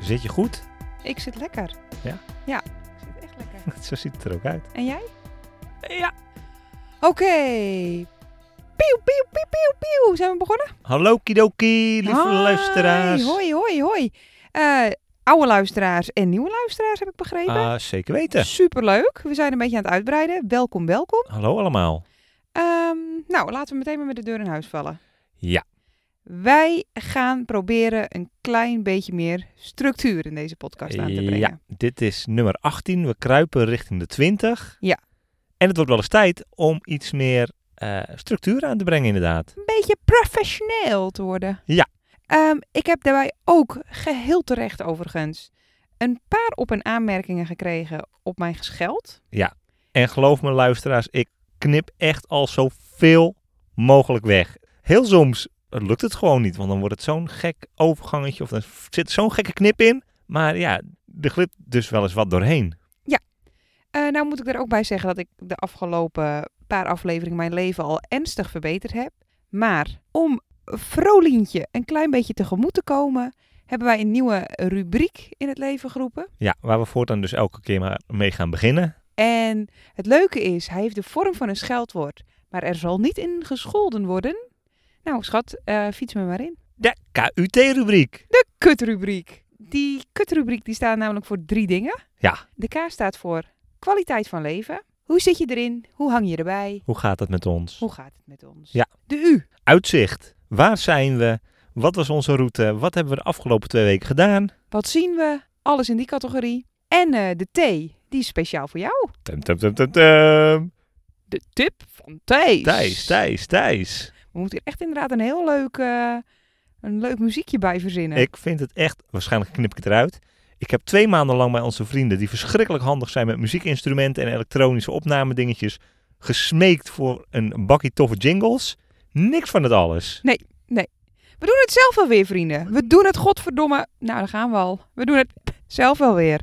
Zit je goed? Ik zit lekker. Ja? Ja, ik zit echt lekker. Zo ziet het er ook uit. En jij? Ja. Oké. Pieuw, pieuw, pieuw, pieuw, pieuw. Zijn we begonnen? Hallo kidoki, lieve Hi, luisteraars. Hoi, hoi, hoi. Eh, oude luisteraars en nieuwe luisteraars heb ik begrepen. Ah, zeker weten. Superleuk. We zijn een beetje aan het uitbreiden. Welkom, welkom. Hallo allemaal. Ehm, nou, laten we meteen maar met de deur in huis vallen. Ja. Wij gaan proberen een klein beetje meer structuur in deze podcast aan te brengen. Ja, dit is nummer 18. We kruipen richting de 20. Ja. En het wordt wel eens tijd om iets meer eh, structuur aan te brengen, inderdaad. Een beetje professioneel te worden. Ja. Ehm, ik heb daarbij ook, geheel terecht overigens, een paar op- en aanmerkingen gekregen op mijn gescheld. En geloof me, luisteraars, ik knip echt al zoveel mogelijk weg. Heel soms lukt het gewoon niet, want dan wordt het zo'n gek overgangetje of dan zit zo'n gekke knip in. Maar ja, er glipt dus wel eens wat doorheen. Eh, nou moet ik er ook bij zeggen dat ik de afgelopen paar afleveringen mijn leven al ernstig verbeterd heb. Maar om Vrolientje een klein beetje tegemoet te komen, hebben wij een nieuwe rubriek in het leven geroepen. Ja, waar we voortaan dus elke keer maar mee gaan beginnen. En het leuke is, hij heeft de vorm van een scheldwoord, maar er zal niet in gescholden worden. Nou schat, eh, fiets me maar in. De KUT-rubriek. De kutrubriek. Die kutrubriek die staat namelijk voor drie dingen. Ja. De K staat voor kwaliteit van leven. Hoe zit je erin? Hoe hang je erbij? Hoe gaat het met ons? Hoe gaat het met ons? Ja. De U. uitzicht. Waar zijn we? Wat was onze route? Wat hebben we de afgelopen twee weken gedaan? Wat zien we? Alles in die categorie. En eh, de T. Die is speciaal voor jou. Tum, tum, tum, tum, tum. De tip van Thijs. Thijs, Thijs, Thijs. We moeten hier echt inderdaad een heel leuk, eh, een leuk muziekje bij verzinnen. Ik vind het echt, waarschijnlijk knip ik het eruit. Ik heb twee maanden lang bij onze vrienden, die verschrikkelijk handig zijn met muziekinstrumenten en elektronische opnamedingetjes, gesmeekt voor een bakkie toffe jingles. Niks van het alles. We doen het zelf wel weer, vrienden. We doen het godverdomme. Nou, daar gaan we al. We doen het zelf wel weer.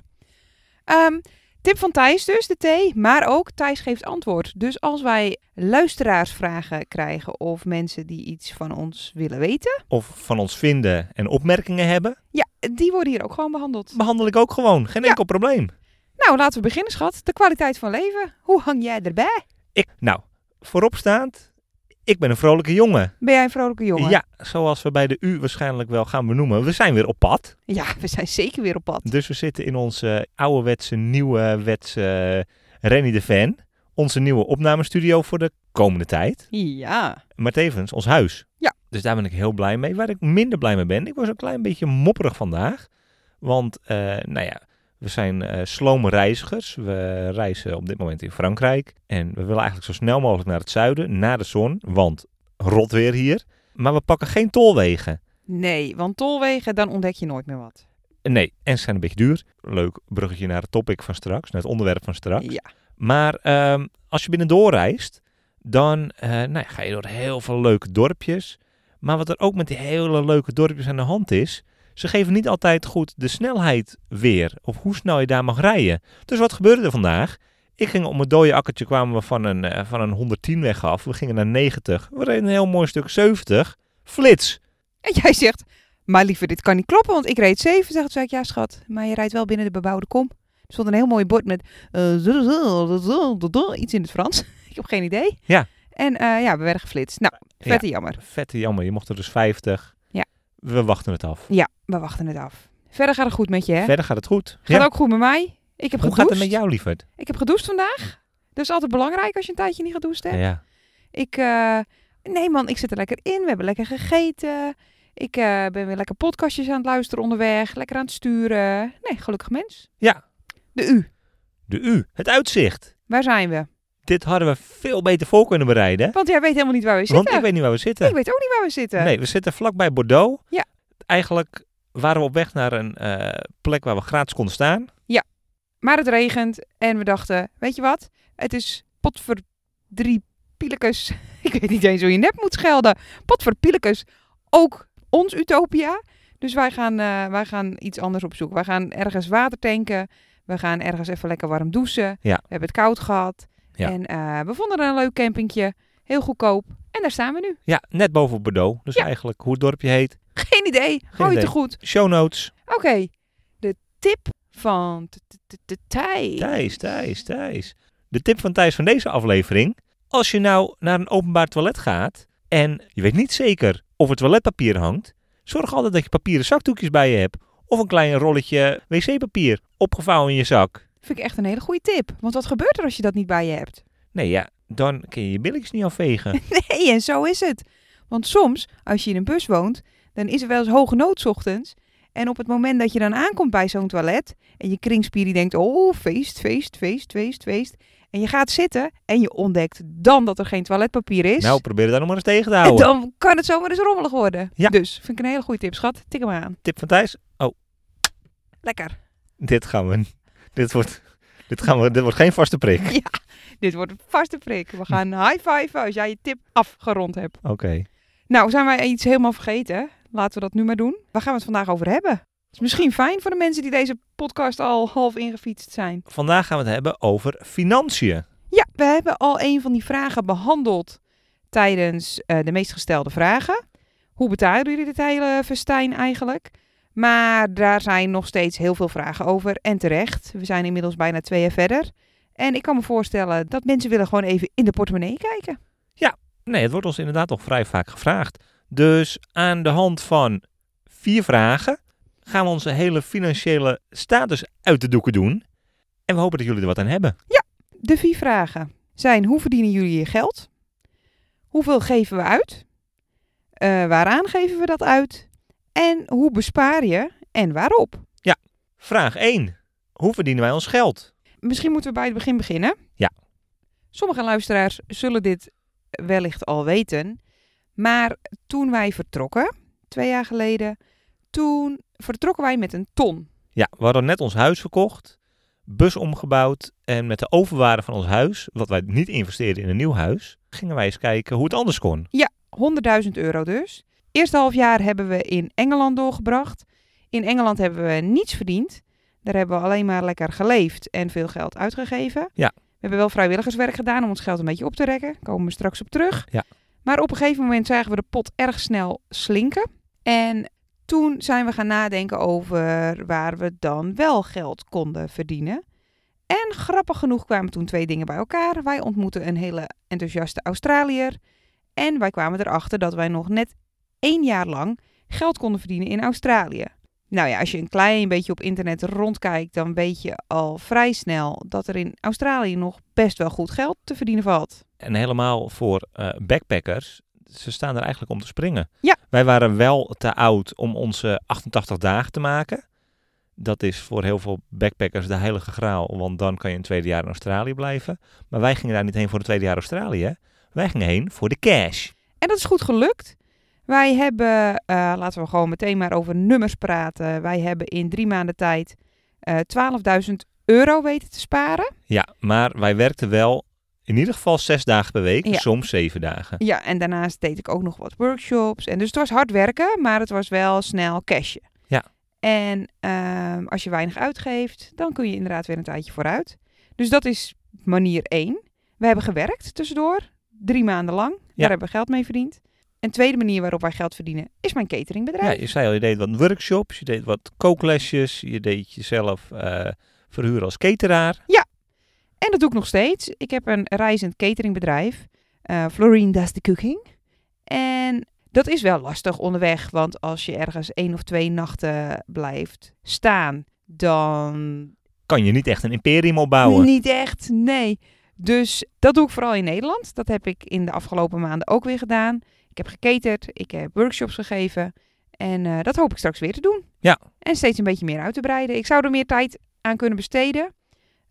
Ehm, tip van Thijs dus, de T. Maar ook Thijs geeft antwoord. Dus als wij luisteraarsvragen krijgen of mensen die iets van ons willen weten, Of van ons vinden en opmerkingen hebben, ja, die worden hier ook gewoon behandeld. behandel ik ook gewoon. Geen Ja. enkel probleem. Nou, laten we beginnen, schat. De kwaliteit van leven. Hoe hang jij erbij? Ik, nou, vooropstaand, ik ben een vrolijke jongen. Ben jij een vrolijke jongen? Ja, zoals we bij de U waarschijnlijk wel gaan benoemen. We zijn weer op pad. Ja, we zijn zeker weer op pad. Dus we zitten in onze ouderwetse, nieuwe wetse Rennie de Van. Onze nieuwe opnamestudio voor de komende tijd. Ja. Maar tevens ons huis. Ja. Dus daar ben ik heel blij mee. Waar ik minder blij mee ben, ik was een klein beetje mopperig vandaag. Want, eh, nou ja, we zijn eh slome reizigers. We reizen op dit moment in Frankrijk. En we willen eigenlijk zo snel mogelijk naar het zuiden, naar de zon. Want rot weer hier. Maar we pakken geen tolwegen. Nee, want tolwegen, dan ontdek je nooit meer wat. Eh, Nee, en ze zijn een beetje duur. Leuk bruggetje naar het topic van straks, naar het onderwerp van straks. Ja. Maar ehm, als je binnendoor reist, dan eh, nou ja, ga je door heel veel leuke dorpjes. Maar wat er ook met die hele leuke dorpjes aan de hand is, ze geven niet altijd goed de snelheid weer of hoe snel je daar mag rijden. Dus wat gebeurde er vandaag? Ik ging om het dode akkertje, kwamen we van een, eh, van een 110 weg af. We gingen naar 90. We reden een heel mooi stuk 70. Flits! En jij zegt, maar liever, dit kan niet kloppen, want ik reed 70. Toen zei ik, ja schat, maar je rijdt wel binnen de bebouwde kom. Er stond een heel mooi bord met eh, zo, zo, zo, zo, zo, iets in het Frans. ik heb geen idee. Ja. En eh, ja, we werden geflitst. Nou, vet en jammer. Vette jammer, je mocht er dus 50. Ja. We wachten het af. Ja, we wachten het af. Verder gaat het goed met je, hè? Verder gaat het goed. Gaat Ja. ook goed met mij. Ik heb Hoe gedoucht. gaat het met jou, lieverd? Ik heb gedoucht vandaag. Dat is altijd belangrijk als je een tijdje niet gedoucht hebt. Ja. Ik, eh, nee man, ik zit er lekker in. We hebben lekker gegeten. Ik eh, ben weer lekker podcastjes aan het luisteren onderweg. Lekker aan het sturen. Nee, gelukkig mens. Ja. De U. De U, het uitzicht. Waar zijn we? dit hadden we veel beter voor kunnen bereiden. Want jij weet helemaal niet waar we Want zitten. ik weet niet waar we zitten. Ik weet ook niet waar we zitten. Nee, we zitten vlakbij Bordeaux. Ja. Eigenlijk waren we op weg naar een eh, plek waar we gratis konden staan. Maar het regent en we dachten, weet je wat? Het is potverdrie pielekus. Ik weet niet eens hoe je nep moet schelden. Potverpielekus. Ook ons utopia. Dus wij gaan, eh, wij gaan iets anders opzoeken. Wij gaan ergens water tanken. We gaan ergens even lekker warm douchen. Ja. We hebben het koud gehad. Ja. En eh, we vonden een leuk campingje. Heel goedkoop. En daar staan we nu. Ja, net boven Bordeaux. Dus Ja. eigenlijk hoe het dorpje heet. Geen idee. Gooi idee. te goed. Show notes. Oké. De tip van t- t- t- t- Thijs. Thijs, Thijs, Thijs. De tip van Thijs van deze aflevering. Als je nou naar een openbaar toilet gaat en je weet niet zeker of er toiletpapier hangt, zorg altijd dat je papieren zakdoekjes bij je hebt. Of een klein rolletje wc-papier opgevouwen in je zak. Vind ik echt een hele goede tip. Want wat gebeurt er als je dat niet bij je hebt? Nee ja, dan kun je je billetjes niet afvegen. Nee, en zo is het. Want soms, als je in een bus woont, dan is er wel eens hoge nood 's ochtends. En op het moment dat je dan aankomt bij zo'n toilet en je kringspier die denkt, oh, feest, feest, feest, feest, feest. En je gaat zitten en je ontdekt dan dat er geen toiletpapier is. Nou, probeer daar nog maar eens tegen te en houden. dan kan het zomaar eens rommelig worden. Ja. Dus, vind ik een hele goede tip, schat. Tik hem aan. Tip van Thijs. Lekker. Dit gaan we. Dit wordt, dit gaan we, dit wordt geen vaste prik. Dit wordt een vaste prik. We gaan high-fiven als jij je tip afgerond hebt. Oké. Nou, zijn wij iets helemaal vergeten? Laten we dat nu maar doen. Waar gaan we het vandaag over hebben? is misschien fijn voor de mensen die deze podcast al half ingefietst zijn. Vandaag gaan we het hebben over financiën. Ja, we hebben al een van die vragen behandeld tijdens eh, de meest gestelde vragen. Hoe betalen jullie dit hele festijn eigenlijk? Maar daar zijn nog steeds heel veel vragen over en terecht. We zijn inmiddels bijna twee jaar verder. En ik kan me voorstellen dat mensen willen gewoon even in de portemonnee kijken. Nee, het wordt ons inderdaad al vrij vaak gevraagd. Dus aan de hand van vier vragen gaan we onze hele financiële status uit de doeken doen. En we hopen dat jullie er wat aan hebben. De vier vragen zijn: hoe verdienen jullie je geld? Hoeveel geven we uit? Eh, waaraan geven we dat uit? En hoe bespaar je en waarop? Vraag 1. Hoe verdienen wij ons geld? Misschien moeten we bij het begin beginnen. Ja. Sommige luisteraars zullen dit wellicht al weten. Maar toen wij vertrokken, twee jaar geleden, toen vertrokken wij met een ton. Ja, we hadden net ons huis verkocht, bus omgebouwd en met de overwaarde van ons huis, wat wij niet investeerden in een nieuw huis, gingen wij eens kijken hoe het anders kon. 100.000 euro dus. Eerste half jaar hebben we in Engeland doorgebracht. In Engeland hebben we niets verdiend. Daar hebben we alleen maar lekker geleefd en veel geld uitgegeven. Ja. We hebben wel vrijwilligerswerk gedaan om ons geld een beetje op te rekken. Daar komen we straks op terug. Ja. Maar op een gegeven moment zagen we de pot erg snel slinken. En toen zijn we gaan nadenken over waar we dan wel geld konden verdienen. En grappig genoeg kwamen toen twee dingen bij elkaar. Wij ontmoetten een hele enthousiaste Australiër. En wij kwamen erachter dat wij nog net één jaar lang geld konden verdienen in Australië. Nou ja, als je een klein beetje op internet rondkijkt, dan weet je al vrij snel dat er in Australië nog best wel goed geld te verdienen valt. En helemaal voor eh, backpackers, ze staan er eigenlijk om te springen. Ja. Wij waren wel te oud om onze 88 dagen te maken. Dat is voor heel veel backpackers de heilige graal, want dan kan je een tweede jaar in Australië blijven. Maar wij gingen daar niet heen voor een tweede jaar Australië. Wij gingen heen voor de cash. En dat is goed gelukt. Wij hebben, eh, laten we gewoon meteen maar over nummers praten. Wij hebben in drie maanden tijd eh 12.000 euro weten te sparen. Ja, maar wij werkten wel in ieder geval zes dagen per week, Ja. soms zeven dagen. Ja, en daarnaast deed ik ook nog wat workshops. En dus het was hard werken, maar het was wel snel cashje. Ja. En ehm, als je weinig uitgeeft, dan kun je inderdaad weer een tijdje vooruit. Dus dat is manier één. We hebben gewerkt tussendoor, drie maanden lang. Daar hebben we geld mee verdiend. Een tweede manier waarop wij geld verdienen is mijn cateringbedrijf. Ja, je zei al, je deed wat workshops, je deed wat kooklesjes, je deed jezelf eh, verhuren als cateraar. En dat doe ik nog steeds. Ik heb een reizend cateringbedrijf. eh Florine Does the Cooking. En dat is wel lastig onderweg. Want als je ergens één of twee nachten blijft staan, dan Kan je niet echt een imperium opbouwen. niet echt, nee. Dus dat doe ik vooral in Nederland. Dat heb ik in de afgelopen maanden ook weer gedaan. Ik heb geketerd, ik heb workshops gegeven. En eh, dat hoop ik straks weer te doen. Ja. En steeds een beetje meer uit te breiden. Ik zou er meer tijd aan kunnen besteden.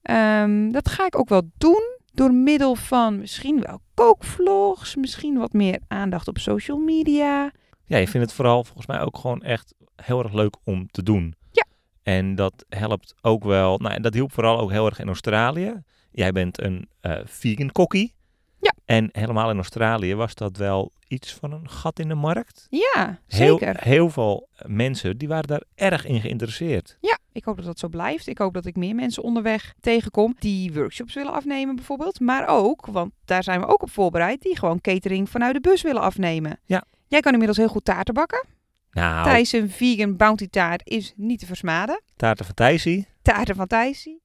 Ehm, dat ga ik ook wel doen. Door middel van misschien wel kookvlogs, misschien wat meer aandacht op social media. Ja, je vindt het vooral volgens mij ook gewoon echt heel erg leuk om te doen. Ja. En dat helpt ook wel. Nou, en dat hielp vooral ook heel erg in Australië. Jij bent een eh, vegan kokkie. Ja. En helemaal in Australië was dat wel iets van een gat in de markt. Ja, Heel, zeker. heel veel eh, mensen die waren daar erg in geïnteresseerd. Ja, ik hoop dat dat zo blijft. Ik hoop dat ik meer mensen onderweg tegenkom die workshops willen afnemen bijvoorbeeld. Maar ook, want daar zijn we ook op voorbereid, die gewoon catering vanuit de bus willen afnemen. Ja. Jij kan inmiddels heel goed taarten bakken. Nou, Thijs' een vegan bounty taart is niet te versmaden. taarten van Thijsie. Taarten van Thijsie.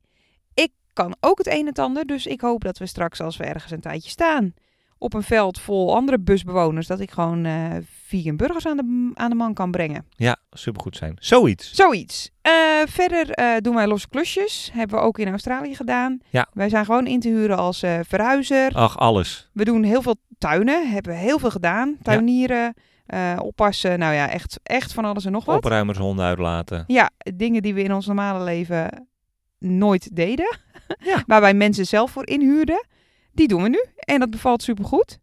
Ik kan ook het een en het ander, dus ik hoop dat we straks als we ergens een tijdje staan... op een veld vol andere busbewoners, dat ik gewoon eh, vegan burgers aan de, aan de man kan brengen. Ja, supergoed zijn. Zoiets. Zoiets. Eh, verder eh, doen wij losse klusjes. Hebben we ook in Australië gedaan. Ja. Wij zijn gewoon in te huren als eh, verhuizer. Ach, alles. We doen heel veel tuinen. Hebben we heel veel gedaan. Tuinieren, eh, oppassen. Nou ja, echt, echt van alles en nog wat. Opruimers honden uitlaten. Ja, dingen die we in ons normale leven nooit deden. Ja. Waar wij mensen zelf voor inhuurden. Die doen we nu. En dat bevalt supergoed.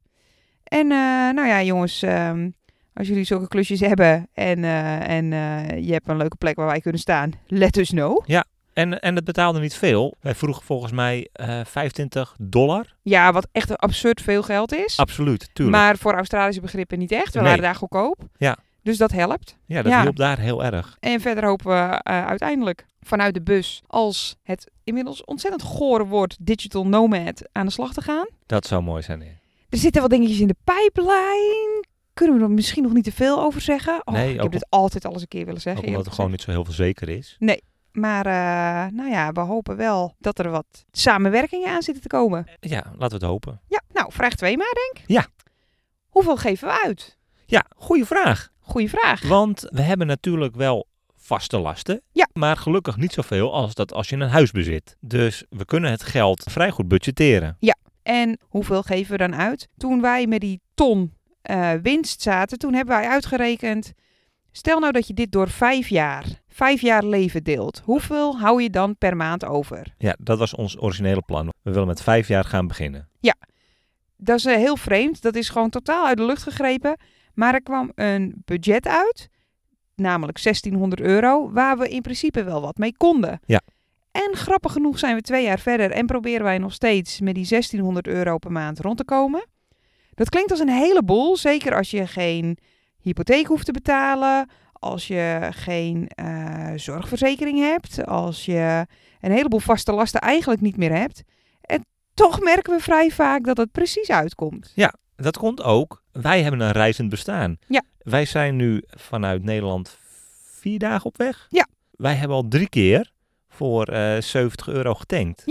En eh, nou ja, jongens, ehm, als jullie zulke klusjes hebben en, eh, en eh, je hebt een leuke plek waar wij kunnen staan, let us know. En, en het betaalde niet veel. Wij vroegen volgens mij eh 25 dollar. Ja, wat echt absurd veel geld is. Absoluut, tuurlijk. Maar voor Australische begrippen niet echt. We Nee. waren daar goedkoop. Ja. Dus dat helpt. ja, dat ja. hielp daar heel erg. En verder hopen we eh, uiteindelijk vanuit de bus, als het inmiddels ontzettend gore wordt, digital nomad aan de slag te gaan. Dat zou mooi zijn. ja. Er zitten wat dingetjes in de pijplijn. Kunnen we er misschien nog niet te veel over zeggen? Oh, Nee, ik ook heb dit altijd alles een keer willen zeggen. Ook omdat eerlijk het gewoon niet zo heel veel zeker is. gezegd. Maar eh, nou ja, we hopen wel dat er wat samenwerkingen aan zitten te komen. Eh, Ja, laten we het hopen. Ja, nou, vraag 2 maar, denk ik. Ja. Hoeveel geven we uit? Ja, goede vraag. Goeie vraag. Want we hebben natuurlijk wel vaste lasten. Ja. Maar gelukkig niet zoveel als dat als je een huis bezit. Dus we kunnen het geld vrij goed budgetteren. En hoeveel geven we dan uit? Toen wij met die ton eh, winst zaten, toen hebben wij uitgerekend. Stel nou dat je dit door vijf jaar, vijf jaar leven deelt. Hoeveel hou je dan per maand over? Ja, dat was ons originele plan. We willen met vijf jaar gaan beginnen. Dat is eh, heel vreemd. Dat is gewoon totaal uit de lucht gegrepen. Maar er kwam een budget uit, namelijk 1600 euro, waar we in principe wel wat mee konden. Ja. En grappig genoeg zijn we twee jaar verder en proberen wij nog steeds met die 1600 euro per maand rond te komen. Dat klinkt als een heleboel, zeker als je geen hypotheek hoeft te betalen, als je geen eh, zorgverzekering hebt, als je een heleboel vaste lasten eigenlijk niet meer hebt. En toch merken we vrij vaak dat het precies uitkomt. Dat komt ook. Wij hebben een reizend bestaan. Ja. Wij zijn nu vanuit Nederland vier dagen op weg. Ja. Wij hebben al drie keer voor eh, 70 euro getankt.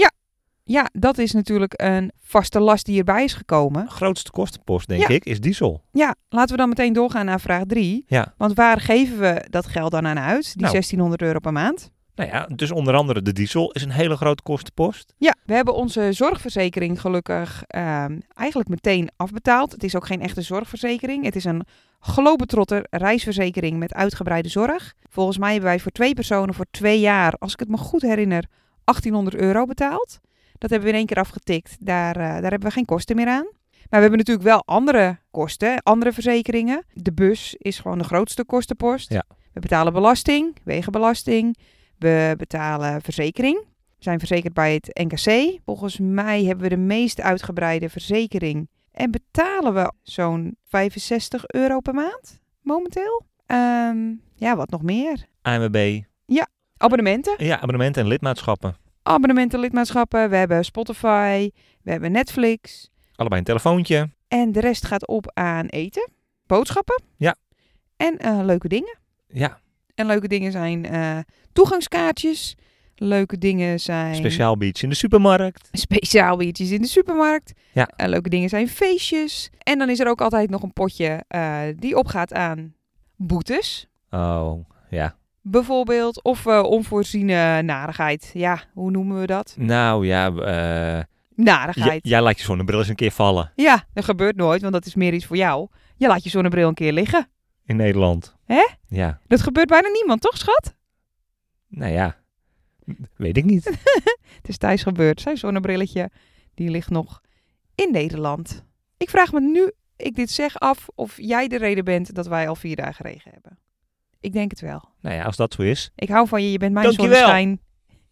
Ja, dat is natuurlijk een vaste last die erbij is gekomen. Grootste kostenpost, denk Ja. ik, is diesel. Ja, laten we dan meteen doorgaan naar vraag 3. Ja. Want waar geven we dat geld dan aan uit, die Nou. 1600 euro per maand? Nou ja, dus onder andere de diesel is een hele grote kostenpost. Ja, we hebben onze zorgverzekering gelukkig ehm, eigenlijk meteen afbetaald. Het is ook geen echte zorgverzekering. Het is een globetrotter reisverzekering met uitgebreide zorg. Volgens mij hebben wij voor twee personen voor twee jaar, als ik het me goed herinner, 1800 euro betaald. Dat hebben we in één keer afgetikt. Daar, eh, daar hebben we geen kosten meer aan. Maar we hebben natuurlijk wel andere kosten, andere verzekeringen. De bus is gewoon de grootste kostenpost. Ja. We betalen belasting, wegenbelasting. We betalen verzekering. We zijn verzekerd bij het NKC. Volgens mij hebben we de meest uitgebreide verzekering. En betalen we zo'n 65 euro per maand momenteel. Ehm, ja, wat nog meer? AMB, Abonnementen. ja, abonnementen en lidmaatschappen. Abonnementen, lidmaatschappen. We hebben Spotify. We hebben Netflix. Allebei een telefoontje. En de rest gaat op aan eten. Boodschappen. Ja. En eh, leuke dingen. Ja, En leuke dingen zijn eh, toegangskaartjes. Leuke dingen zijn... speciaal beach in de supermarkt. speciaal biertjes in de supermarkt. Ja. Eh, leuke dingen zijn feestjes. En dan is er ook altijd nog een potje eh, die opgaat aan boetes. Oh, ja. Bijvoorbeeld, of eh, onvoorziene narigheid. Ja, hoe noemen we dat? Nou ja, eh, j- Narigheid. Ja, jij laat je zonnebril eens een keer vallen dat gebeurt nooit, want dat is meer iets voor jou. Je laat je zonnebril een keer liggen. in Nederland. Hè? Ja, Dat gebeurt bijna niemand, toch schat? nou ja. Weet ik niet. Het is Thijs gebeurd. Zijn zonnebrilletje, die ligt nog in Nederland. Ik vraag me nu ik dit zeg af of jij de reden bent dat wij al vier dagen regen hebben. Ik denk het wel. Nou ja, als dat zo is. Ik hou van je, je bent mijn Dankjewel. zonneschijn.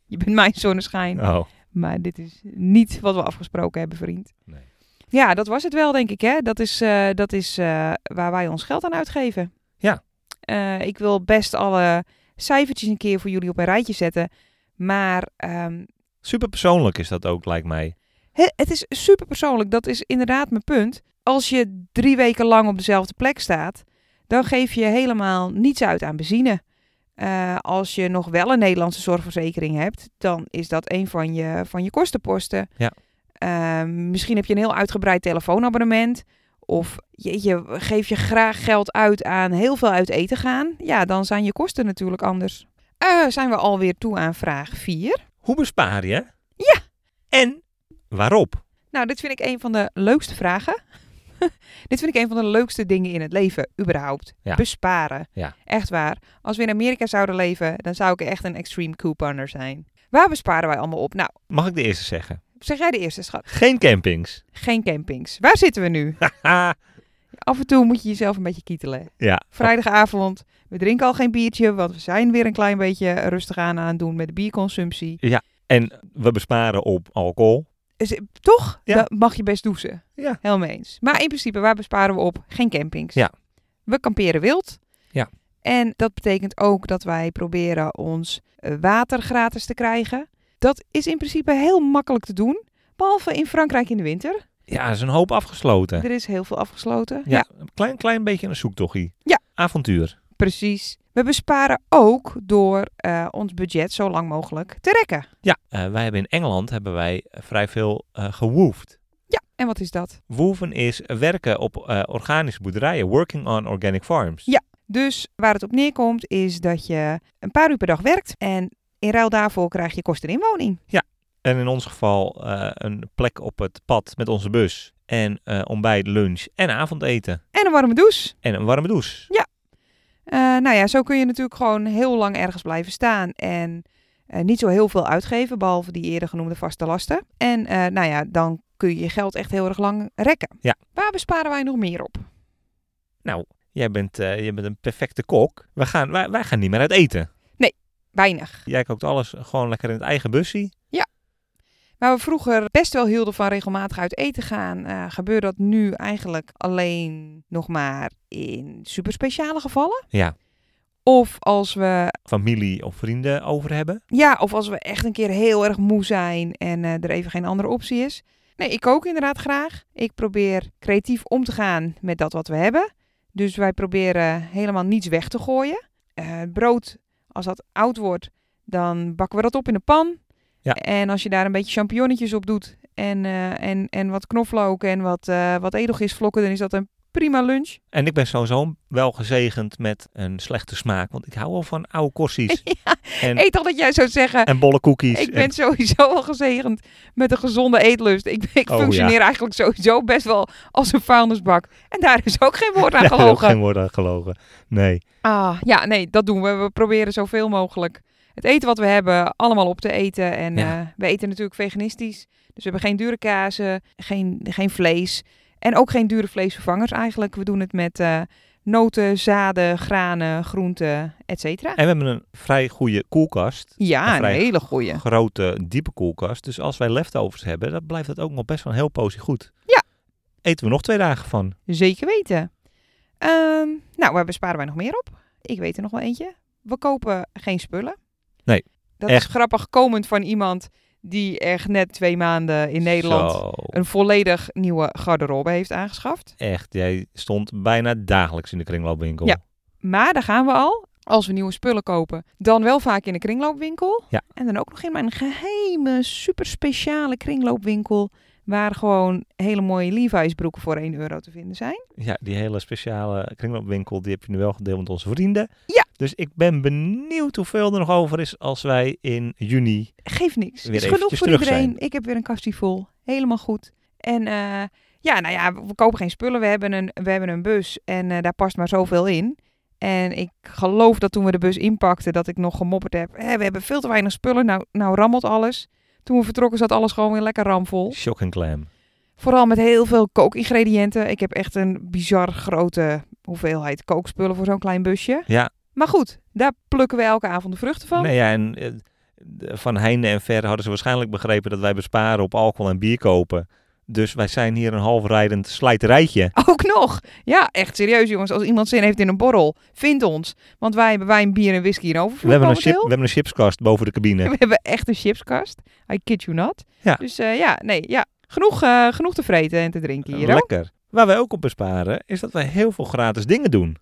Je bent mijn zonneschijn. Oh, Maar dit is niet wat we afgesproken hebben, vriend. Nee. Ja, dat was het wel, denk ik. Hè? Dat is, eh, dat is eh, waar wij ons geld aan uitgeven. Ja. Eh, ik wil best alle cijfertjes een keer voor jullie op een rijtje zetten. Maar ehm, super persoonlijk is dat ook, lijkt mij. Hè, het is super persoonlijk. Dat is inderdaad mijn punt. Als je drie weken lang op dezelfde plek staat, dan geef je helemaal niets uit aan benzine. Eh, als je nog wel een Nederlandse zorgverzekering hebt, dan is dat een van je, van je kostenposten. Ja. Eh, misschien heb je een heel uitgebreid telefoonabonnement. Of jeetje, geef je graag geld uit aan heel veel uit eten gaan. Ja, dan zijn je kosten natuurlijk anders. Eh, zijn we alweer toe aan vraag 4. Hoe bespaar je? Ja. En waarop? Nou, dit vind ik een van de leukste vragen. dit vind ik een van de leukste dingen in het leven, überhaupt. Ja. Besparen. Ja. Echt waar. Als we in Amerika zouden leven, dan zou ik echt een extreme couponer zijn. Waar besparen wij allemaal op? Nou, Mag ik de eerste zeggen? zeg jij de eerste, schat. Geen campings. Geen campings. Waar zitten we nu? Haha. Af en toe moet je jezelf een beetje kietelen. ja. Vrijdagavond, we drinken al geen biertje, want we zijn weer een klein beetje rustig aan aan het doen met de bierconsumptie. En we besparen op alcohol. Dus, eh, toch? Ja. Dat mag je best douchen. Ja. Helemaal eens. Maar in principe, waar besparen we op? Geen campings. Ja. We kamperen wild. Ja. En dat betekent ook dat wij proberen ons eh, water gratis te krijgen. Dat is in principe heel makkelijk te doen. Behalve in Frankrijk in de winter. Ja, er is een hoop afgesloten. Er is heel veel afgesloten. Ja. Een klein, klein beetje een zoektochtje. Ja. Avontuur. precies. We besparen ook door eh, ons budget zo lang mogelijk te rekken. Ja. eh, wij hebben in Engeland hebben wij eh, vrij veel eh gewoofd. Ja, en wat is dat? Woeven is werken op eh, organische boerderijen. Working on organic farms. Ja. Dus waar het op neerkomt is dat je een paar uur per dag werkt en in ruil daarvoor krijg je kosten inwoning. En in ons geval eh, een plek op het pad met onze bus. En eh, ontbijt, lunch en avondeten. En een warme douche. En een warme douche. Eh, nou ja, zo kun je natuurlijk gewoon heel lang ergens blijven staan en eh, niet zo heel veel uitgeven, behalve die eerder genoemde vaste lasten. En eh, nou ja, dan kun je je geld echt heel erg lang rekken. Ja. Waar besparen wij nog meer op? Jij bent, eh, jij bent een perfecte kok. We gaan, wij, wij gaan niet meer uit eten. Weinig. Jij kookt alles gewoon lekker in het eigen busje. Waar we vroeger best wel hielden van regelmatig uit eten gaan, eh, gebeurt dat nu eigenlijk alleen nog maar in superspeciale gevallen. Ja. Of als we Familie of vrienden over hebben. Ja, of als we echt een keer heel erg moe zijn en eh, er even geen andere optie is. Nee, ik kook inderdaad graag. Ik probeer creatief om te gaan met dat wat we hebben. Dus wij proberen helemaal niets weg te gooien. Eh, het brood, als dat oud wordt, dan bakken we dat op in de pan. Ja. En als je daar een beetje champignonnetjes op doet en, eh, en, en wat knoflook en wat, eh wat edelgistvlokken, dan is dat een prima lunch. En ik ben sowieso wel gezegend met een slechte smaak. Want ik hou al van oude korsies. en, Eet al dat jij zou zeggen, en bolle cookies. Ik en- ben sowieso al gezegend met een gezonde eetlust. Ik, ik Oh, functioneer eigenlijk sowieso best wel als een vuilnisbak. En daar is ook geen woord aan Daar heb ik ook gelogen. geen woord aan gelogen. Nee. Ah, ja, nee, dat doen we. We proberen zoveel mogelijk het eten wat we hebben allemaal op te eten. En Ja. eh, we eten natuurlijk veganistisch. Dus we hebben geen dure kazen, geen, geen vlees. En ook geen dure vleesvervangers eigenlijk. We doen het met eh, noten, zaden, granen, groenten, et cetera. En we hebben een vrij goede koelkast. Ja, en een vrij hele goeie. Grote, diepe koelkast. Dus als wij leftovers hebben, dan blijft dat ook nog best wel een heel poosje goed. Ja. Eten we nog twee dagen van. Zeker weten. Ehm, nou, waar besparen wij nog meer op? Ik weet er nog wel eentje. We kopen geen spullen. Nee, Dat echt. is grappig komend van iemand die echt net twee maanden in Nederland Zo. een volledig nieuwe garderobe heeft aangeschaft. Echt, jij stond bijna dagelijks in de kringloopwinkel. Ja. Maar daar gaan we al. Als we nieuwe spullen kopen, dan wel vaak in de kringloopwinkel. Ja. En dan ook nog in mijn geheime, super speciale kringloopwinkel. Waar gewoon hele mooie Levi's broeken voor 1 euro te vinden zijn. Ja, die hele speciale kringloopwinkel, die heb je nu wel gedeeld met onze vrienden. Ja. Dus ik ben benieuwd hoeveel er nog over is als wij in juni... geeft niks. Weer is genoeg eventjes voor terug iedereen. zijn. Ik heb weer een kastje vol. Helemaal goed. En eh, ja, nou ja, we kopen geen spullen. We hebben een, we hebben een bus en eh, daar past maar zoveel in. En ik geloof dat toen we de bus inpakten, dat ik nog gemopperd heb. "Hè, we hebben veel te weinig spullen. Nou, nou rammelt alles. Toen we vertrokken zat alles gewoon weer lekker ramvol. Shock and clam. Vooral met heel veel kookingrediënten. Ik heb echt een bizar grote hoeveelheid kookspullen voor zo'n klein busje. Ja. Maar goed, daar plukken we elke avond de vruchten van. Nee, ja, en eh, de- van Heine en Ver hadden ze waarschijnlijk begrepen dat wij besparen op alcohol en bier kopen. Dus wij zijn hier een halfrijdend slijterijtje. Ook nog. Ja, echt serieus jongens. Als iemand zin heeft in een borrel, vind ons. Want wij hebben wijn, bier en whisky in overvloed We hebben, een chip, momenteel. we hebben een chipskast boven de cabine. We hebben echt een chipskast. I kid you not. Ja. Dus eh, ja, nee, ja. Genoeg, eh, genoeg te vreten en te drinken hier. hoor. Lekker. Waar wij ook op besparen is dat wij heel veel gratis dingen doen.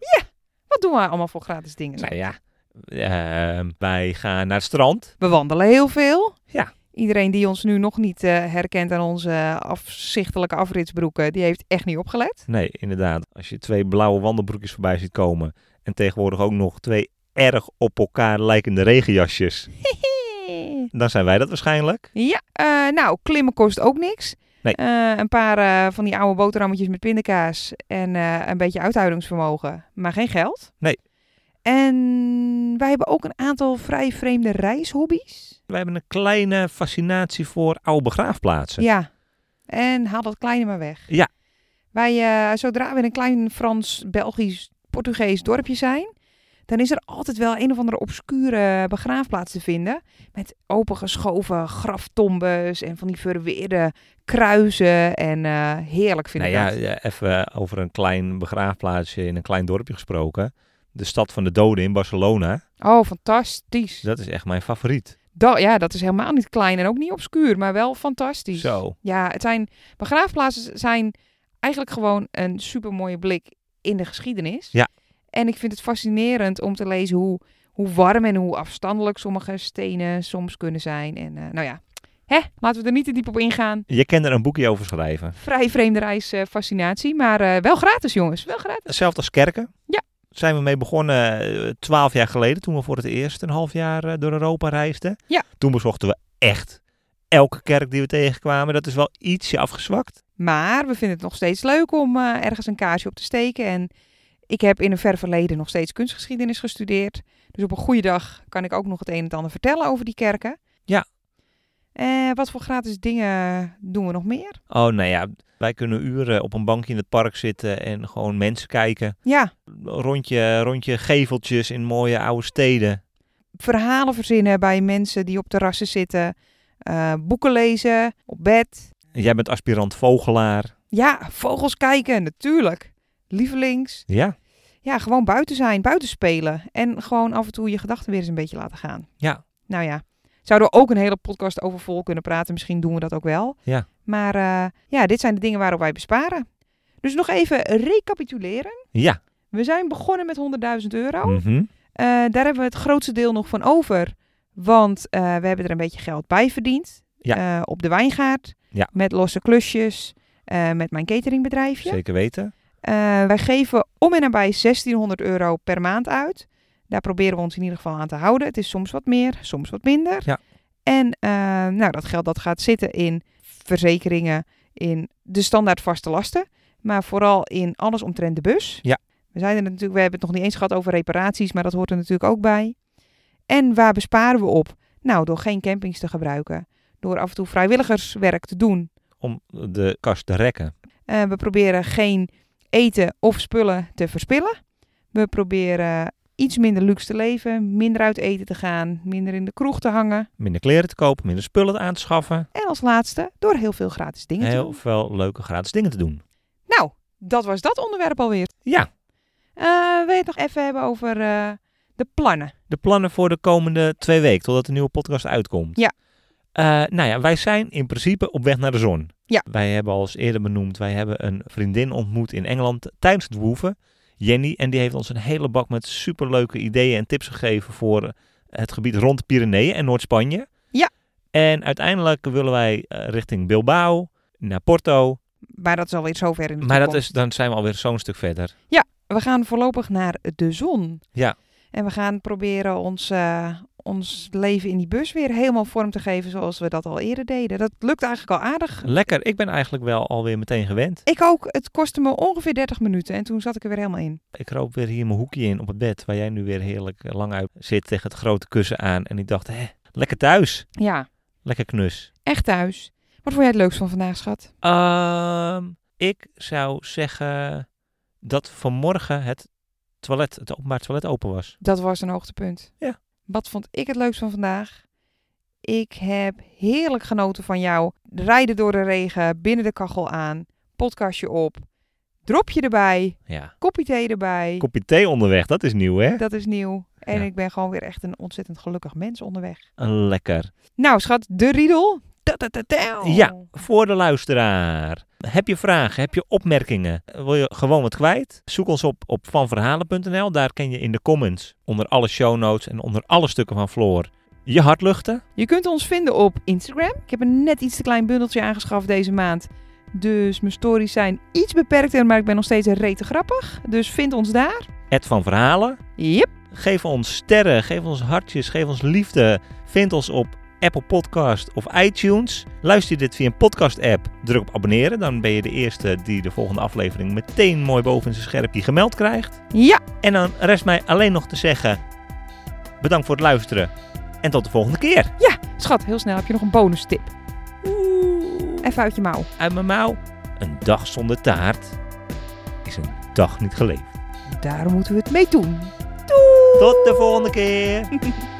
Wat doen we allemaal voor gratis dingen? Nou ja, eh, wij gaan naar het strand. We wandelen heel veel. Ja. Iedereen die ons nu nog niet eh, herkent aan onze eh, afzichtelijke afritsbroeken, die heeft echt niet opgelet. Nee, inderdaad. Als je twee blauwe wandelbroekjes voorbij ziet komen en tegenwoordig ook nog twee erg op elkaar lijkende regenjasjes, dan zijn wij dat waarschijnlijk. Ja, eh, nou, klimmen kost ook niks. Nee. Eh, een paar eh, van die oude boterhammetjes met pindakaas en eh, een beetje uithoudingsvermogen, maar geen geld. Nee. En wij hebben ook een aantal vrij vreemde reishobby's. Wij hebben een kleine fascinatie voor oude begraafplaatsen. Ja. En haal dat kleine maar weg. Ja. Wij, eh, zodra we in een klein Frans, Belgisch, Portugees dorpje zijn, dan is er altijd wel een of andere obscure begraafplaats te vinden. Met opengeschoven graftombes en van die verweerde kruisen. En eh, heerlijk vind Nou ik ja, dat. ja, even eh, over een klein begraafplaatsje in een klein dorpje gesproken. De stad van de doden in Barcelona. Oh, fantastisch. Dat is echt mijn favoriet. Da- ja, dat is helemaal niet klein en ook niet obscuur, maar wel fantastisch. Zo. Ja, het zijn, begraafplaatsen zijn eigenlijk gewoon een supermooie blik in de geschiedenis. Ja. En ik vind het fascinerend om te lezen hoe, hoe warm en hoe afstandelijk sommige stenen soms kunnen zijn. En eh, nou ja, hè, laten we er niet te diep op ingaan. Je kan er een boekje over schrijven. Vrij vreemde reis eh, fascinatie, maar eh, wel gratis jongens, wel gratis. Hetzelfde als kerken. Ja. Zijn we mee begonnen eh, twaalf jaar geleden toen we voor het eerst een half jaar eh, door Europa reisden. Ja. Toen bezochten we echt elke kerk die we tegenkwamen. Dat is wel ietsje afgezwakt. Maar we vinden het nog steeds leuk om eh, ergens een kaarsje op te steken. En ik heb in een ver verleden nog steeds kunstgeschiedenis gestudeerd. Dus op een goede dag kan ik ook nog het een en het ander vertellen over die kerken. Ja. Eh, wat voor gratis dingen doen we nog meer? Oh, nou ja, wij kunnen uren op een bankje in het park zitten en gewoon mensen kijken. Ja, Rondje, rondje geveltjes in mooie oude steden. verhalen verzinnen bij mensen die op terrassen zitten. Eh, boeken lezen, op bed. Jij bent aspirant vogelaar. Ja, vogels kijken, natuurlijk. Lievelings. Ja. Ja, gewoon buiten zijn, buiten spelen. En gewoon af en toe je gedachten weer eens een beetje laten gaan. Ja. Nou ja, zouden we ook een hele podcast over vol kunnen praten. Misschien doen we dat ook wel. Ja. Maar eh, ja, dit zijn de dingen waarop wij besparen. Dus nog even recapituleren. Ja. We zijn begonnen met 100.000 euro. Mhm. Eh, daar hebben we het grootste deel nog van over. Want eh, we hebben er een beetje geld bij verdiend. Ja. Eh, op de wijngaard. Ja. Met losse klusjes. eh, met mijn cateringbedrijfje. Zeker weten. Eh, wij geven om en nabij 1600 euro per maand uit. Daar proberen we ons in ieder geval aan te houden. Het is soms wat meer, soms wat minder. Ja. En eh, nou, dat geld dat gaat zitten in verzekeringen, in de standaard vaste lasten. Maar vooral in alles omtrent de bus. Ja. We, zijn er natuurlijk, we hebben het nog niet eens gehad over reparaties, maar dat hoort er natuurlijk ook bij. En waar besparen we op? Nou, door geen campings te gebruiken. Door af en toe vrijwilligerswerk te doen. Om de kast te rekken. Eh, we proberen geen eten of spullen te verspillen. We proberen iets minder luxe te leven, minder uit eten te gaan, minder in de kroeg te hangen. Minder kleren te kopen, minder spullen aan te schaffen. En als laatste, door heel veel gratis dingen te Heel doen. veel leuke gratis dingen te doen. Nou, dat was dat onderwerp alweer. Ja. Eh, wil je het nog even hebben over eh, de plannen? De plannen voor de komende twee weken, totdat de nieuwe podcast uitkomt. Ja. Eh, nou ja, wij zijn in principe op weg naar de zon. Ja. Wij hebben al eens eerder benoemd, wij hebben een vriendin ontmoet in Engeland tijdens het woeven, Jenny. En die heeft ons een hele bak met superleuke ideeën en tips gegeven voor eh, het gebied rond de Pyreneeën en Noord-Spanje. Ja. En uiteindelijk willen wij eh, richting Bilbao, naar Porto. Maar dat is alweer zover in de Maar dat toekomst. is, dan zijn we alweer zo'n stuk verder. We gaan voorlopig naar de zon. Ja. En we gaan proberen ons, eh, ons leven in die bus weer helemaal vorm te geven zoals we dat al eerder deden. Dat lukt eigenlijk al aardig. Lekker, ik ben eigenlijk wel alweer meteen gewend. Ik ook. Het kostte me ongeveer 30 minuten en toen zat ik er weer helemaal in. Ik kroop weer hier mijn hoekje in op het bed, waar jij nu weer heerlijk eh, lang uit zit tegen het grote kussen aan. En ik dacht, hè, lekker thuis. Ja. Lekker knus. Echt thuis. Wat vond jij het leukst van vandaag, schat? Ehm, ik zou zeggen dat vanmorgen het toilet, het openbaar toilet open was. Dat was een hoogtepunt. Ja. Wat vond ik het leukst van vandaag? Ik heb heerlijk genoten van jou. Rijden door de regen, binnen de kachel aan, podcastje op, dropje erbij, Ja. kopje thee erbij. Kopje thee onderweg, dat is nieuw hè? Dat is nieuw. En Ja. ik ben gewoon weer echt een ontzettend gelukkig mens onderweg. Lekker. Nou, schat, de riedel. Ta-ta-ta-tau. Ja. Voor de luisteraar. Heb je vragen? Heb je opmerkingen? Wil je gewoon wat kwijt? Zoek ons op op vanverhalen.nl. Daar ken je in de comments onder alle show notes en onder alle stukken van Floor je hart luchten. Je kunt ons vinden op Instagram. Ik heb een net iets te klein bundeltje aangeschaft deze maand. Dus mijn stories zijn iets beperkter, maar ik ben nog steeds rete grappig. Dus vind ons daar. Het van Verhalen. Yep. Geef ons sterren, geef ons hartjes, geef ons liefde. Vind ons op Apple Podcast of iTunes. Luister je dit via een podcast-app, druk op abonneren. Dan ben je de eerste die de volgende aflevering meteen mooi boven in zijn scherpje gemeld krijgt. Ja, En dan rest mij alleen nog te zeggen: bedankt voor het luisteren en tot de volgende keer. ja. Schat, heel snel heb je nog een bonus tip. Oeh, Even uit je mouw. uit mijn mouw. Een dag zonder taart is een dag niet geleefd. Daar moeten we het mee doen. Tot de volgende keer.